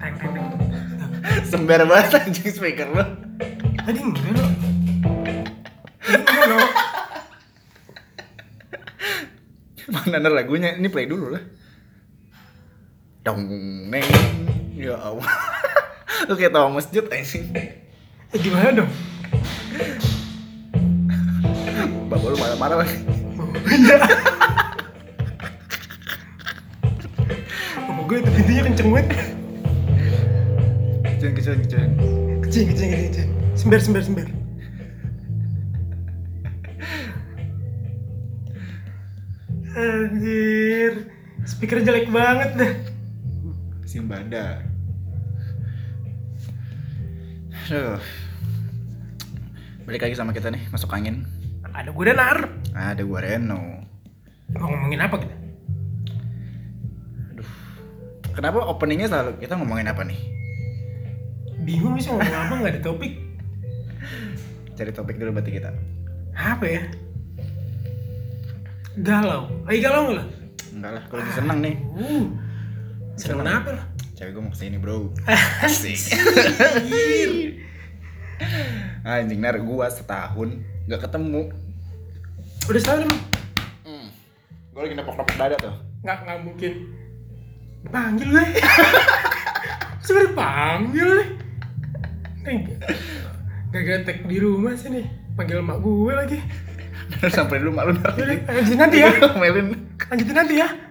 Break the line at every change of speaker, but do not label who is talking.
Teng teng teng.
Sember banget anjing speaker lu.
Tadi enggak lo. Tadi enggak lo.
Mana ada lagunya? Ini play dulu lah. Dong neng. Ya Allah. lu kayak tawa masjid anjing.
Eh, gimana dong?
Bapak lu marah-marah lagi.
Bapak gue itu pintunya kenceng banget.
Jangan kecil kecil.
Kecil kecil kecil kecil. Sember sember sember. Anjir. Speaker jelek banget dah.
Siang bandar. Aduh. Balik lagi sama kita nih, masuk angin.
Ada gue dan Ar.
Ada gua Reno.
Mau ngomongin apa kita?
Kenapa openingnya selalu kita ngomongin apa nih?
Bingung sih mau ngomong apa nggak ada topik.
Cari topik dulu berarti kita.
Apa ya? Galau. Eh galau nggak lo?
Enggak lah, kalau lagi senang nih.
Uh. Seneng apa lo?
Cewek gua mau kesini bro. Asik. Anjing nar gua setahun nggak ketemu.
Udah setahun emang?
Hmm. Gua lagi nepok-nepok dada tuh.
Nggak, nggak mungkin. Panggil gue. Sebenernya panggil nih. Nih. Gak getek di rumah sih nih. Panggil emak gue lagi.
Sampai dulu malu nar.
Yaudah, lanjutin nanti ya.
Melin.
Lanjutin nanti ya.